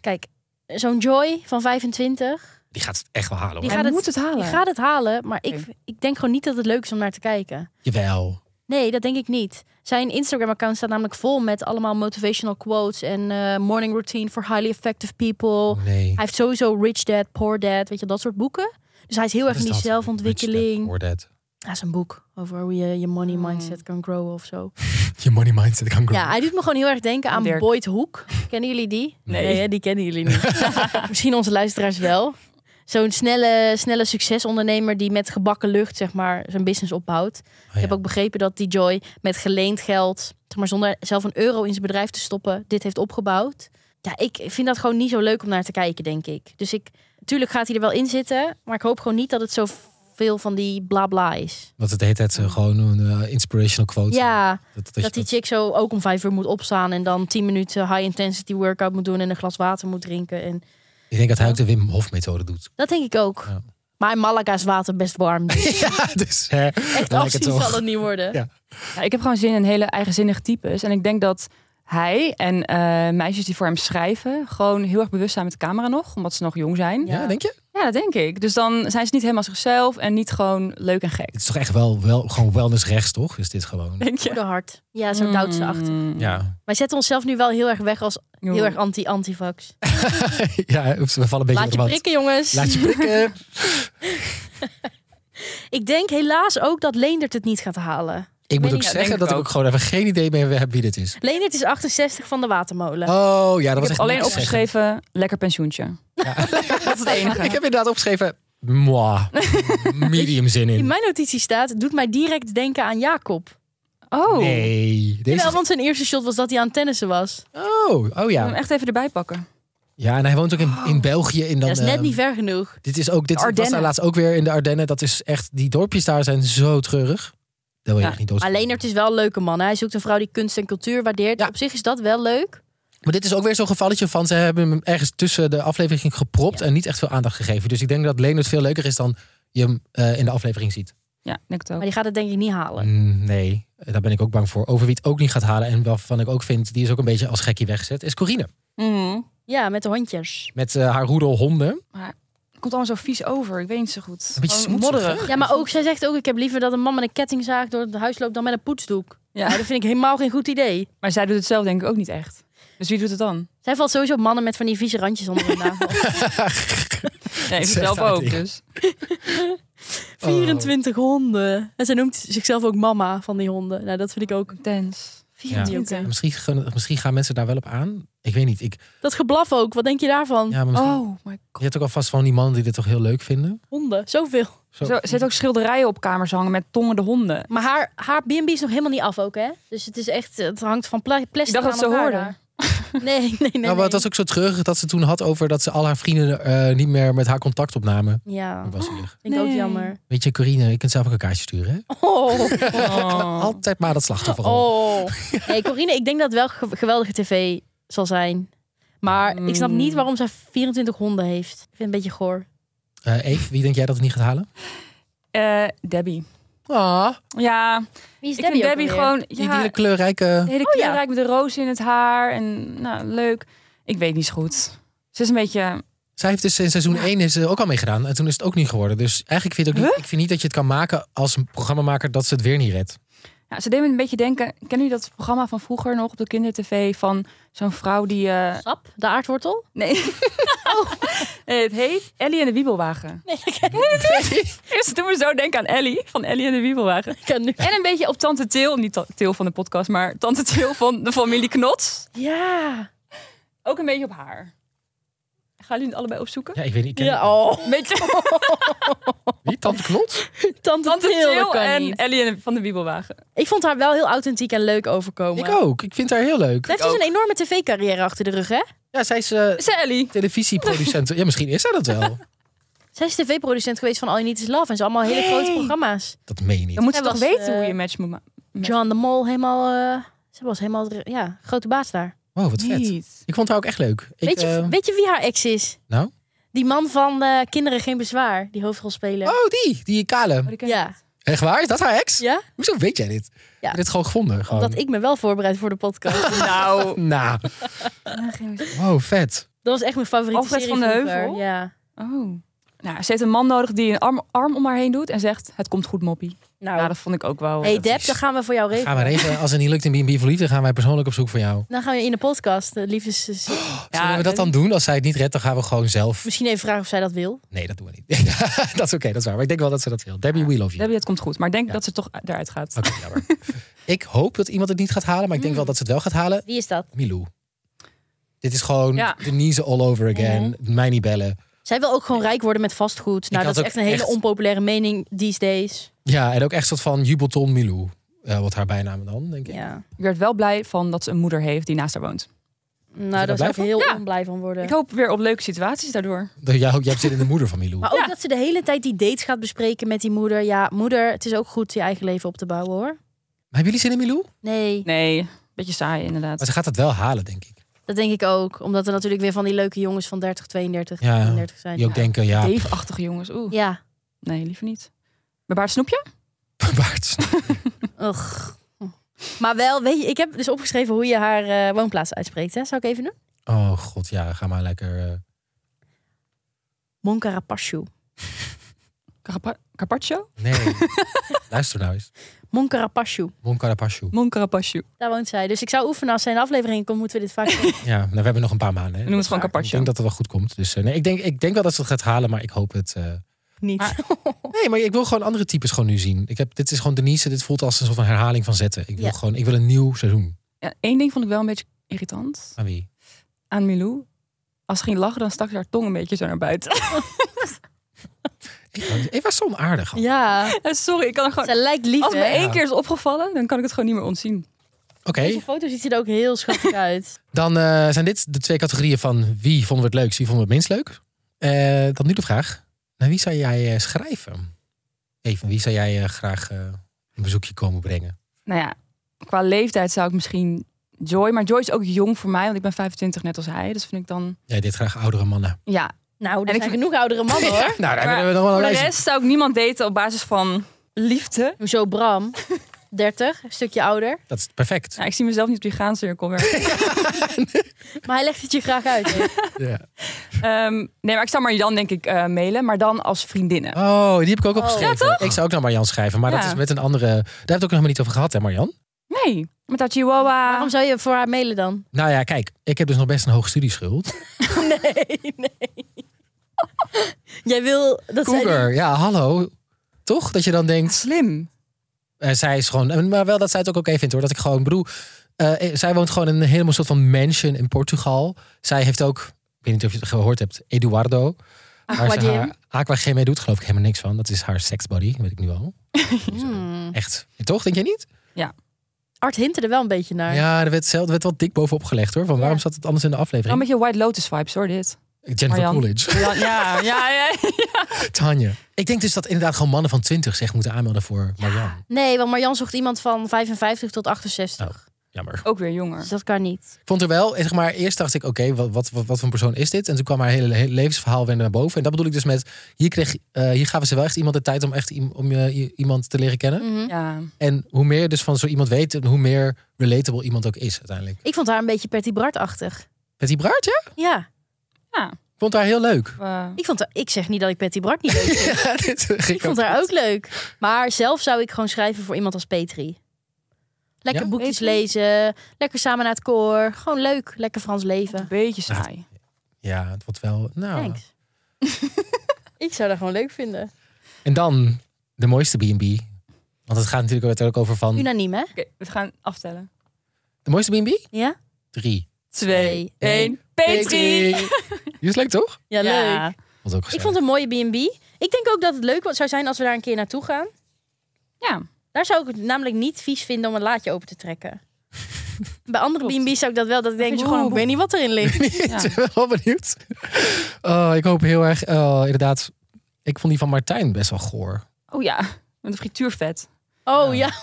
S6: kijk, zo'n Joy van 25,
S5: Die gaat het echt wel halen.
S6: Die
S5: hoor.
S7: Hij
S6: gaat het-
S7: moet het halen.
S6: die gaat het halen. Maar ik,
S7: Oké.
S6: ik denk gewoon niet dat het leuk is om naar te kijken.
S5: Jawel.
S6: Nee, dat denk ik niet. Zijn Instagram-account staat namelijk vol met allemaal motivational quotes en eh, morning routine for highly effective people.
S5: Nee.
S6: Oh, Hij heeft sowieso Rich Dad, Poor Dad, weet je, dat soort boeken. Dus hij is heel erg in die zelfontwikkeling. Hij is een boek over hoe je je money
S5: Hmm.
S6: mindset kan growen of zo.
S5: Je money mindset kan groeien.
S6: Ja, hij doet me gewoon heel erg denken aan
S7: Dirk.
S6: Boyd Hoek. Kennen jullie die?
S7: Nee.
S6: hè, die kennen jullie niet. Misschien onze luisteraars wel. Zo'n snelle, snelle succesondernemer die met gebakken lucht zeg maar, zijn business opbouwt.
S5: Oh, ja.
S6: Ik heb ook begrepen dat die Joy met geleend geld, zeg maar, zonder zelf een euro in zijn bedrijf te stoppen, dit heeft opgebouwd. Ja, ik vind dat gewoon niet zo leuk om naar te kijken, denk ik. Dus ik, tuurlijk gaat hij er wel in zitten, maar ik hoop gewoon niet dat het zoveel van die bla bla is.
S5: Want het heet het eh, gewoon een eh, inspirational quote.
S6: Mm. Ja,
S5: dat, dat, je
S6: dat die chick zo ook om vijf uur moet opstaan en dan tien minuten high intensity workout moet doen en een glas water moet drinken. En
S5: Ik denk dat hij ook de Wim Hof methode doet.
S6: dat denk ik ook.
S5: Ja.
S6: Maar in Malaga is water best warm. Dus
S5: Ja, dus hè,
S6: echt
S5: dan lijkt
S6: afzien
S5: wel-
S6: zal het niet worden.
S5: Ja.
S7: Ja, ik heb gewoon zin in hele eigenzinnige types. En ik denk dat hij en eh, meisjes die voor hem schrijven... gewoon heel erg bewust zijn met de camera nog. Omdat ze nog jong zijn.
S5: Ja, denk je?
S7: Ja, dat denk ik. Dus dan zijn ze niet helemaal zichzelf en niet gewoon leuk en gek.
S5: Het is toch echt wel, wel gewoon wellness rechts, toch? Is dit gewoon?
S7: Denk je?
S6: Voor de hart. Ja,
S7: Mm.
S6: zo duwt ze achter.
S5: Ja.
S6: Wij zetten onszelf nu wel heel erg weg als heel erg anti-antivax.
S5: ja, oeps, we vallen een beetje door
S6: Laat je
S5: de mand.
S6: prikken, jongens.
S5: Laat je prikken.
S6: Ik denk helaas ook dat Leendert het niet gaat halen.
S5: ik moet
S6: niet,
S5: ook
S6: ja,
S5: zeggen
S7: denk
S5: dat
S7: ik
S5: ik ook
S7: ook.
S5: gewoon even geen idee meer heb wie dit is.
S6: Leendert is 68 van de watermolen.
S5: Oh ja, dat
S7: Ik
S5: was echt
S7: heb alleen
S5: niks zeggen.
S7: opgeschreven, lekker pensioentje. dat is het enige.
S5: Ik heb inderdaad opgeschreven, moi, medium zin
S6: In
S5: in.
S6: mijn notitie staat, doet mij direct denken aan Jacob.
S7: Oh,
S5: Nee, deze
S6: Jawel,
S5: is-
S6: want zijn eerste shot was dat hij aan het tennissen was.
S5: Oh, oh
S7: ik moet hem
S5: ja.
S7: echt even erbij pakken.
S5: Ja, en hij woont ook in, in België. In dan,
S6: Dat is net
S5: eh,
S6: niet ver genoeg.
S5: Dit is ook, dit
S7: De
S5: was daar
S7: Ardennen.
S5: laatst ook weer in de Ardennen. Dat is echt, die dorpjes daar zijn zo treurig. Dat wil je
S7: Ja,
S5: echt niet dood.
S6: Maar Leendert is wel een leuke man. hè. Hij zoekt een vrouw die kunst en cultuur waardeert.
S5: Ja.
S6: Op zich is dat wel leuk.
S5: Maar dit is ook weer zo'n gevalletje van ze hebben hem ergens tussen de aflevering gepropt en niet echt veel aandacht gegeven. Dus ik denk dat Leonard veel leuker is dan je hem eh, in de aflevering ziet.
S7: Ja, ik denk het
S6: Maar
S7: ook.
S6: die gaat het denk ik niet halen.
S5: Mm, nee, daar ben ik ook bang voor. Over wie het ook niet gaat halen en waarvan ik ook vind, die is ook een beetje als gekkie weggezet, is Corine.
S7: Mhm.
S6: Ja, met de hondjes.
S5: Met eh, haar roedel honden.
S7: Komt allemaal zo vies over. Ik weet niet zo goed.
S5: Een beetje
S7: Gewoon
S5: smoetsig,
S7: modderig.
S6: Ja, maar ook, zij zegt ook, ik heb liever dat een man met een kettingzaag door het huis loopt dan met een poetsdoek.
S7: Ja.
S6: Nou, dat vind ik helemaal geen goed idee.
S7: Maar zij doet het zelf denk ik ook niet echt. Dus wie doet het dan?
S6: Zij valt sowieso op mannen met van die vieze randjes onder Oh. hun navel.
S7: Nee, ik
S5: is
S7: zelf
S5: echt haar
S7: ook.
S5: ding.
S7: Dus.
S6: 24 honden. En zij noemt zichzelf ook mama van die honden. Nou, dat vind ik ook...
S7: Intens.
S5: Ja.
S7: 24.
S6: Ja.
S5: Misschien, gaan- misschien gaan mensen daar wel op aan. Ik weet niet. Ik,
S6: Dat geblaf ook. Wat denk je daarvan?
S5: ja, maar misschien-
S7: Oh my god.
S5: Je hebt ook alvast van die mannen die dit toch heel leuk vinden.
S6: Honden, zoveel.
S5: Zo.
S7: Zo, er zitten ook schilderijen op kamers hangen met tongen de honden.
S6: Maar haar, haar B&B is nog helemaal niet af ook, hè? Dus het is echt, het hangt van pla- plastic
S7: Ik dacht dat
S6: aan
S7: ze
S6: elkaar
S7: hoorden.
S6: daar. Nee, nee, nee.
S5: nou, maar het was ook zo treurig dat ze toen had over dat ze al haar vrienden eh, niet meer met haar contact opnamen.
S6: nee. Ja,
S5: Dat was zielig.
S6: vind ik ook
S7: Nee.
S6: jammer.
S5: Weet je, Corine, je kunt zelf ook een kaartje sturen. Hè?
S6: Oh,
S7: Oh.
S5: Altijd maar dat slachtoffer. rol.
S6: oh. Nee, Corine, ik denk dat het wel ge- geweldige tv zal zijn. Maar ik snap niet waarom zij 24 honden heeft. Ik vind het een beetje goor.
S5: Eh, Eve, wie denk jij dat het niet gaat halen?
S7: Eh, Debbie.
S5: Ah,
S7: Ja,
S6: Wie is
S7: ik vind Debbie gewoon...
S5: die,
S7: Ja,
S5: die kleurrijke...
S7: de hele
S6: Oh ja.
S7: kleurrijk met de roos in het haar. En nou, leuk. Ik weet niet zo goed. Ze is een beetje...
S5: Zij heeft dus in seizoen 1 is ze ook al meegedaan. En toen is het ook niet geworden. Dus eigenlijk vind ik, ook niet, ik vind niet dat je het kan maken als een programmamaker dat ze het weer niet redt.
S7: Ja, ze deed me een beetje denken... Kennen jullie dat programma van vroeger nog op de kindertv? Van zo'n vrouw die... eh,
S6: Sap, de aardwortel?
S7: Nee. Oh, Nee, het heet Ellie en de Wiebelwagen. Nee, Eerst doen we zo denken aan Ellie, van Ellie en de Wiebelwagen.
S6: Ik kan nu...
S7: En een beetje op Tante Til, niet ta- Til van de podcast, maar Tante Til van de familie Knots.
S6: Ja.
S7: Ook een beetje op haar. Gaan jullie het allebei opzoeken?
S5: Ja, ik weet niet. ik ken
S6: Ja, oh.
S7: Een beetje
S5: Wie? Tante Knot?
S6: Tante,
S7: Tante
S6: Til, dat
S7: Til
S6: kan
S7: en
S6: niet.
S7: Ellie en de- van de Wiebelwagen.
S6: Ik vond haar wel heel authentiek en leuk overkomen.
S5: Ik ook. Ik vind haar heel leuk.
S6: Ze heeft dus een enorme tv-carrière achter de rug, hè?
S5: Ja, zij is eh,
S7: Is dat Ellie?
S5: televisieproducent. Ja, misschien is zij dat wel.
S6: Zij is tv-producent geweest van All You Need Is Love. En ze allemaal hele grote programma's.
S5: Dat meen je niet.
S7: Dan moet ze
S6: Zij
S7: toch
S6: was,
S7: weten hoe
S6: eh,
S7: je match moet maken.
S6: John de Mol helemaal... eh, ze was helemaal de- ja, grote baas daar.
S5: Wow, wat vet.
S7: Niet.
S5: Ik vond haar ook echt leuk. Ik,
S6: weet, je,
S5: eh,
S6: weet je wie haar ex is?
S5: Nou?
S6: Die man van eh, Kinderen Geen Bezwaar. Die hoofdrolspeler.
S5: Oh, die. Die kale.
S7: Oh, die ken ik
S6: ja.
S7: niet.
S5: Echt waar? Is dat haar ex?
S6: Ja?
S5: Hoezo weet jij dit? Heb je dit gewoon gevonden? Gewoon.
S6: Dat ik me wel voorbereid voor de podcast.
S7: Nou,
S5: Nou, wow, vet.
S6: Dat was echt mijn favoriete
S7: Alfred
S6: serie
S7: van de
S6: vroeger.
S7: Heuvel?
S6: Ja.
S7: Oh. Nou, ze heeft een man nodig die een arm, arm om haar heen doet en zegt: Het komt goed, moppie.
S6: Nou.
S7: Ja, dat vond ik ook wel. eh,
S6: hey
S7: dat
S6: Deb,
S7: is-
S6: dan gaan we voor jou regelen.
S5: Gaan we regelen. Als het niet lukt in B&B voor liefde, gaan wij persoonlijk op zoek voor jou.
S6: Dan gaan we in de podcast. De liefdes...
S5: Zullen we dat dan doen? Als zij het niet redt, dan gaan we gewoon zelf.
S6: Misschien even vragen of zij dat wil.
S5: Nee, dat doen we niet. dat is oké, dat is waar. Maar ik denk wel dat ze dat wil. Debbie, we love you.
S7: Debbie, het komt goed. Maar ik denk
S5: Ja.
S7: dat ze toch eruit gaat.
S5: Oké, jammer. ik hoop dat iemand het niet gaat halen, maar ik denk wel dat ze het wel gaat halen.
S6: Wie is dat?
S5: Milou. Dit is gewoon
S7: Ja.
S5: Denise all over again. Mij niet bellen.
S6: Zij wil ook gewoon rijk worden met vastgoed. Nou,
S5: had
S6: dat is
S5: ook
S6: echt een hele
S5: echt-
S6: onpopulaire mening these days.
S5: Ja, en ook echt soort van jubelton Milou. Eh, wat haar bijnaam dan, denk ik.
S6: Ja.
S7: Ik werd wel blij van dat ze een moeder heeft die naast haar woont.
S6: Nou,
S5: daar
S6: daar zou
S5: blij
S6: ik
S5: van?
S6: heel
S7: Ja.
S6: onblij van worden.
S7: Ik hoop weer op leuke situaties daardoor.
S5: Jij, jij hebt zin in de moeder van Milou.
S6: Maar ook
S7: Ja.
S6: dat ze de hele tijd die dates gaat bespreken met die moeder. Ja, moeder, het is ook goed je eigen leven op te bouwen hoor.
S5: Maar hebben jullie zin in Milou?
S6: Nee,
S7: Nee, beetje saai inderdaad.
S5: Maar ze gaat het wel halen, denk ik.
S6: dat denk ik ook. Omdat er natuurlijk weer van die leuke jongens van 30, 32,
S5: Ja,
S6: 33 zijn.
S5: Die ook denken, ja,
S7: Dave-achtige jongens. Oeh.
S6: Ja,
S7: Nee, liever niet. Maar Baart Snoepje?
S5: Baart.
S6: ugh. Maar wel, weet je, ik heb dus opgeschreven hoe je haar eh, woonplaats uitspreekt. Hè? Zou ik even doen?
S5: Oh god, ja, ga maar lekker. eh.
S6: Moncarapaccio.
S7: Carapa- Carpaccio?
S5: Nee, luister nou eens.
S6: Moncarapaccio.
S5: Mon Carapaccio.
S7: Mon Carpaccio.
S6: Daar woont zij. Dus ik zou oefenen als zij een aflevering komt, moeten we dit vaak doen.
S5: Ja, nou, we hebben nog een paar maanden. Hè.
S7: noemen het gewoon
S5: Dat is
S7: Carpaccio.
S5: waar. Ik denk dat het wel goed komt. Dus eh, nee, ik denk, ik denk wel dat ze het gaat halen, maar ik hoop het. eh.
S6: niet.
S7: Oh.
S5: Nee, maar ik wil gewoon andere types gewoon nu zien. Ik heb, dit is gewoon Denise, dit voelt als een soort van herhaling van zetten. Ik wil
S6: Ja.
S5: gewoon, ik wil een nieuw seizoen.
S7: Ja, Eén ding vond ik wel een beetje irritant
S5: Aan wie?
S7: aan Milou. Als ze ging lachen, dan stak ze haar tong een beetje zo naar buiten.
S5: Eva, Eva is zo aardig. Oké,
S6: Ja,
S7: Sorry, ik kan er gewoon...
S6: zij lijkt lief.
S7: Als het me
S6: hè?
S7: één keer is opgevallen, dan kan ik het gewoon niet meer ontzien.
S6: Deze foto ziet ze er ook heel schattig uit.
S5: dan eh, zijn dit de twee categorieën van wie vonden we het leukst, wie vonden we het minst leuk. Eh, dan nu de vraag, naar wie zou jij eh, schrijven? Even, wie zou jij eh, graag eh, een bezoekje komen brengen?
S7: Nou ja, qua leeftijd zou ik misschien Joy... Maar Joy is ook jong voor mij, want ik ben 25 net als hij. Dus vind ik dan...
S5: Jij dit graag oudere mannen.
S7: Ja,
S6: Nou,
S7: En
S6: er
S7: ik
S6: zijn
S7: vind-
S6: genoeg oudere mannen
S5: Ja,
S6: hoor.
S5: nou, daar
S7: Maar
S5: hebben we nog wel een
S7: Voor de
S5: lijstje.
S7: rest zou ik niemand daten op basis van liefde.
S6: Hoezo Bram? 30, een stukje ouder.
S5: Dat is perfect.
S7: Ja, Nou, ik zie mezelf niet op die graancirkel werken.
S6: Maar hij legt het je graag uit. hè?
S5: Ja.
S7: Ehm, nee, maar ik zou Marjan denk ik eh, mailen, maar dan als vriendinnen.
S5: Oh, die heb ik ook
S6: Oh.
S5: opgeschreven.
S7: Ja,
S5: Ik zou ook naar Marjan schrijven, maar dat
S7: Ja.
S5: is met een andere... Daar hebben we het ook nog helemaal niet over gehad, hè Marjan?
S7: Nee, met haar chihuahua.
S6: Waarom zou je voor haar mailen dan?
S5: Nou ja, kijk, ik heb dus nog best een hoog studieschuld.
S6: Nee, nee. Jij wil dat zij...
S5: Cougar, ja, hallo. Toch? Dat je dan denkt,
S7: Slim.
S5: eh, zij is gewoon... en- Maar wel dat zij het ook oké vindt hoor. Dat ik gewoon bedoel... eh, eh, zij woont gewoon in een helemaal soort van mansion in Portugal. Zij heeft ook, ik weet niet of je het gehoord hebt, Eduardo. Waar ze
S6: Aquagym.
S5: haar aquagym doet, geloof ik helemaal niks van. Dat is haar sexbody, dat weet ik nu al.
S6: Hmm.
S5: Echt. Toch, denk je niet?
S6: Art hintte er wel een beetje naar.
S5: Ja, er werd, zelf, er werd wel dik bovenop gelegd hoor. Van waarom
S6: Ja.
S5: zat het anders in de
S7: Wel een
S5: aflevering?
S7: beetje White Lotus vibes hoor, dit.
S5: Jennifer
S7: Marjan.
S5: Coolidge.
S7: Ja, ja, ja. ja.
S5: Tanja. Ik denk dus dat inderdaad gewoon mannen van 20 zich moeten aanmelden voor Marjan.
S6: Nee, want Marjan zocht iemand van 55 tot 68.
S5: Jammer.
S7: Ook weer jonger.
S6: Dus dat kan niet.
S5: Ik vond er wel, eh, zeg maar, eerst dacht ik, oké, wat, wat, wat, wat voor een persoon is dit? En toen kwam haar hele le- levensverhaal weer naar boven. En dat bedoel ik dus met, hier, kreeg, eh, hier gaven ze wel echt iemand de tijd om echt iem- om, eh, i- iemand te leren kennen.
S6: Mhm.
S7: Ja.
S5: En hoe meer je dus van zo iemand weet, hoe meer relatable iemand ook is uiteindelijk.
S6: Ik vond haar een beetje Patty Bart-achtig.
S5: Betty Braart, ja?
S6: Ja,
S5: Ik vond haar heel leuk.
S7: eh,
S6: ik, vond haar, ik zeg niet dat ik Patty Bart niet leuk vind.
S5: Ja, dit ging
S6: ik vond haar ook leuk. Maar zelf zou ik gewoon schrijven voor iemand als Petri. Lekker
S5: Ja?
S6: boekjes
S7: Petri?
S6: lezen, lekker samen naar het koor. Gewoon leuk, lekker Frans leven.
S7: een beetje saai.
S5: Ja, het wordt wel, nou.
S6: Thanks. ik zou dat gewoon leuk vinden.
S5: En dan de mooiste B&B. Want het gaat natuurlijk ook over van,
S6: Unaniem, hè?
S7: Oké, we gaan aftellen.
S5: de mooiste B&B?
S6: Ja?
S5: Drie.
S7: Twee, één.
S5: Petri!
S7: Petri!
S5: Die is leuk toch?
S6: Ja, leuk.
S7: Ja.
S5: Vond ook
S6: Ik vond het een mooie B&B. Ik denk ook dat het leuk zou zijn als we daar een keer naartoe gaan.
S7: Ja.
S6: Daar zou ik het namelijk niet vies vinden om een laadje open te trekken. Bij andere
S7: Klopt.
S6: B&B's zou ik dat wel. Dat ik denk,
S7: vind je
S6: gewoon
S7: gewoon
S6: ik
S7: een
S6: weet niet wat erin ligt.
S7: Ja.
S5: Ik ben wel benieuwd. Oh, ik hoop heel erg. Oh, inderdaad. Ik vond die van Martijn best wel goor.
S7: Oh ja, met een frituurvet.
S6: Oh ja.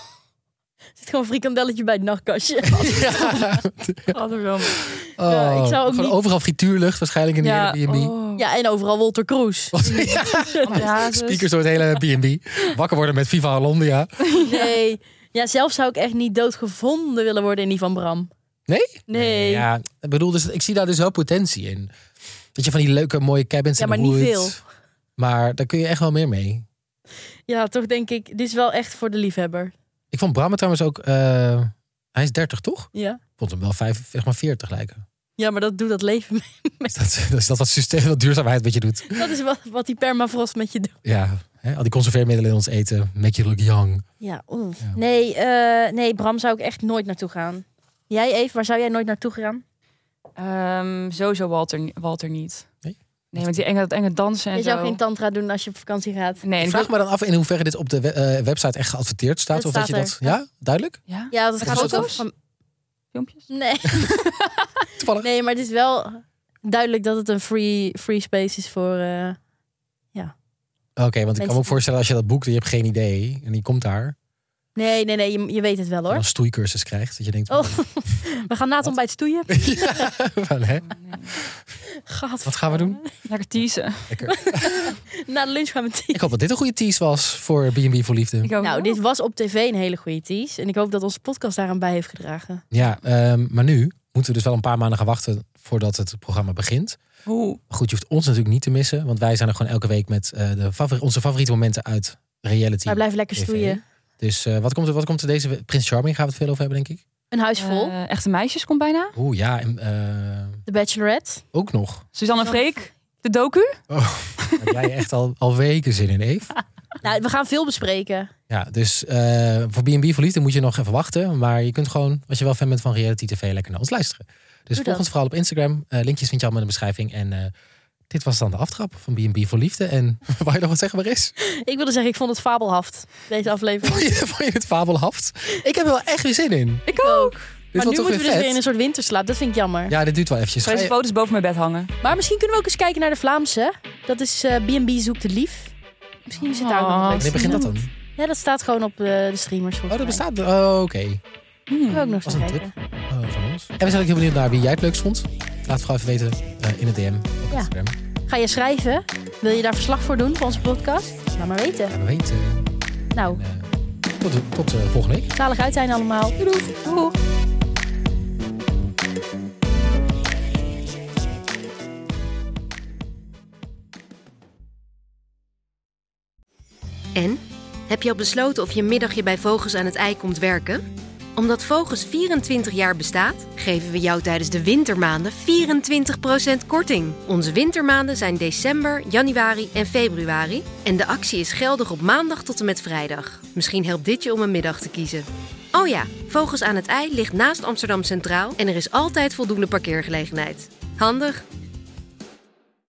S6: Er zit gewoon een frikandelletje bij het nachtkastje.
S7: Godverdomme.
S5: Oh,
S6: Ja, ik zou ook
S5: gewoon
S6: niet-
S5: overal frituurlucht waarschijnlijk in de
S7: Ja,
S5: hele B&B.
S7: oh.
S6: Ja, oh. en overal Walter Kroes.
S5: Wat- ja,
S7: Ja,
S5: speakers door het hele B&B. Wakker worden met Viva Hollandia.
S6: Nee. Ja, zelf zou ik echt niet doodgevonden willen worden in die van Bram.
S5: Nee?
S6: Nee. Ja,
S5: Ja, ik bedoel, dus, ik zie daar dus wel potentie in. Dat je van die leuke mooie cabins
S6: Ja,
S5: in
S6: maar
S5: de
S6: niet
S5: woods.
S6: veel.
S5: Maar daar kun je echt wel meer mee.
S6: toch denk ik, dit is wel echt voor de liefhebber.
S5: Ik vond Bram het trouwens ook... eh, hij is 30, toch?
S6: Ja.
S5: Ik vond hem wel vijf, zeg maar 40 lijken.
S6: Ja, maar dat doet dat leven mee.
S5: Dus dat, dus dat dat systeem, dat duurzaamheid wat je doet.
S6: Dat is wat, wat die permafrost met je doet.
S5: Ja, hè, al die conserveermiddelen in ons eten. Make you look young.
S6: Ja, oeh.
S5: Ja.
S6: Nee, eh, nee, Bram zou ik echt nooit naartoe gaan. Jij, Eve, waar zou jij nooit naartoe gaan?
S7: Ehm, sowieso Walter, ni- Walter niet.
S5: Nee?
S7: Nee, want die enge, dat enge dansen en
S6: Je
S7: zo.
S6: zou geen tantra doen als je op vakantie gaat.
S7: Nee, en
S5: Ik
S7: ik
S5: vraag
S7: wil-
S5: me dan af in hoeverre dit op de we- eh, website echt geadverteerd staat.
S6: Het
S5: of dat je
S6: staat
S5: dat... Ja, duidelijk?
S7: Ja?
S6: Ja, dat
S7: Met
S6: gaat ook
S7: foto's?
S6: van-
S7: Filmpjes?
S6: Nee.
S5: Toevallig.
S6: nee, maar het is wel duidelijk dat het een free, free space is voor... eh,
S5: Oké, want ik kan
S6: Mensen-
S5: me ook voorstellen als je dat boekt en je hebt geen idee. En die komt daar.
S6: Nee, nee, nee, je, je weet het wel
S5: En
S6: hoor.
S5: een stoeicursus krijgt. Dat je denkt...
S6: Oh, we gaan na
S5: Wat?
S6: het ontbijt stoeien.
S5: ja, van, hè?
S7: Oh, nee.
S6: Gaat.
S5: Wat gaan we doen?
S7: Lekker teasen.
S5: Lekker.
S6: Na de lunch gaan we tea.
S5: Ik hoop dat dit een goede tease was voor B&B voor Liefde.
S7: Ik ook
S6: Nou,
S7: wel.
S6: dit was op tv een hele goede tease. En ik hoop dat onze podcast daaraan bij heeft gedragen.
S5: Ja, ehm, maar nu moeten we dus wel een paar maanden gaan wachten voordat het programma begint.
S7: Hoe?
S5: Maar goed, je hoeft ons natuurlijk niet te missen. Want wij zijn er gewoon elke week met eh, de favori- onze favoriete momenten uit reality.
S6: Wij blijven lekker
S5: TV.
S6: stoeien.
S5: Dus eh, wat, komt er, wat komt er deze... we- Prins Charming gaan we het veel over hebben, denk ik.
S6: Een huis vol.
S7: Eh, echte meisjes komt bijna.
S5: Oeh, ja. En, eh,
S6: de Bachelorette.
S5: ook nog.
S7: Suzanne en Freek. De docu.
S5: Heb jij echt al, al weken zin in, Eve?
S6: Nou, we gaan veel bespreken.
S5: Ja, dus eh, voor B&B voor Liefde moet je nog even wachten. Maar je kunt gewoon, als je wel fan bent van reality tv, lekker naar ons luisteren. Dus
S6: dat.
S5: volg ons vooral op Instagram. Eh, linkjes vind je allemaal in de beschrijving. En eh, dit was dan de aftrap van B&B voor Liefde. En waar je nog wat zeggen maar is.
S6: Ik wilde zeggen, ik vond het fabelhaft. Deze aflevering.
S5: Vond je, vond je het fabelhaft? Ik heb er wel echt weer zin in.
S7: Ik ook.
S5: Dit
S6: maar nu
S5: was
S6: moeten
S5: toch
S6: we
S5: weer
S6: dus weer in een
S5: vet.
S6: soort winterslaap. Dat vind ik jammer.
S5: Ja, dit duurt wel eventjes.
S7: Ga
S5: Ga
S7: deze
S5: je-
S7: foto's boven mijn bed hangen.
S6: Maar misschien kunnen we ook eens kijken naar de Vlaamse. Dat is eh, B&B zoekt de lief. Misschien zit daar ook nog
S7: Oh.
S6: een
S5: Ah, Wanneer begint dat dan?
S6: leuk- Ja, dat staat gewoon op eh, de streamers
S5: Oh,
S6: volgens
S5: dat
S6: mij.
S5: bestaat. Oh, oké.
S6: Kunnen we ook nog
S5: Was
S6: eens
S5: een
S6: kijken.
S5: Oh, van ons. En we zijn ook heel benieuwd naar wie jij het leukst vond. Laat het vooral even weten eh, in het DM op
S6: Ja.
S5: Instagram.
S6: Ga je schrijven? Wil je daar verslag voor doen voor onze podcast? Laat maar weten.
S5: En we weten.
S6: Nou,
S5: eh, tot tot eh, volgende week.
S6: zalig uit zijn allemaal. Doei.
S1: En? Heb je al besloten of je middagje bij Vogels aan het ei komt werken? Omdat Vogels 24 jaar bestaat, geven we jou tijdens de wintermaanden 24% korting. Onze wintermaanden zijn december, januari en februari. En de actie is geldig op maandag tot en met vrijdag. Misschien helpt dit je om een middag te kiezen. Oh ja, Vogels aan het IJ ligt naast Amsterdam Centraal en er is altijd voldoende parkeergelegenheid. Handig,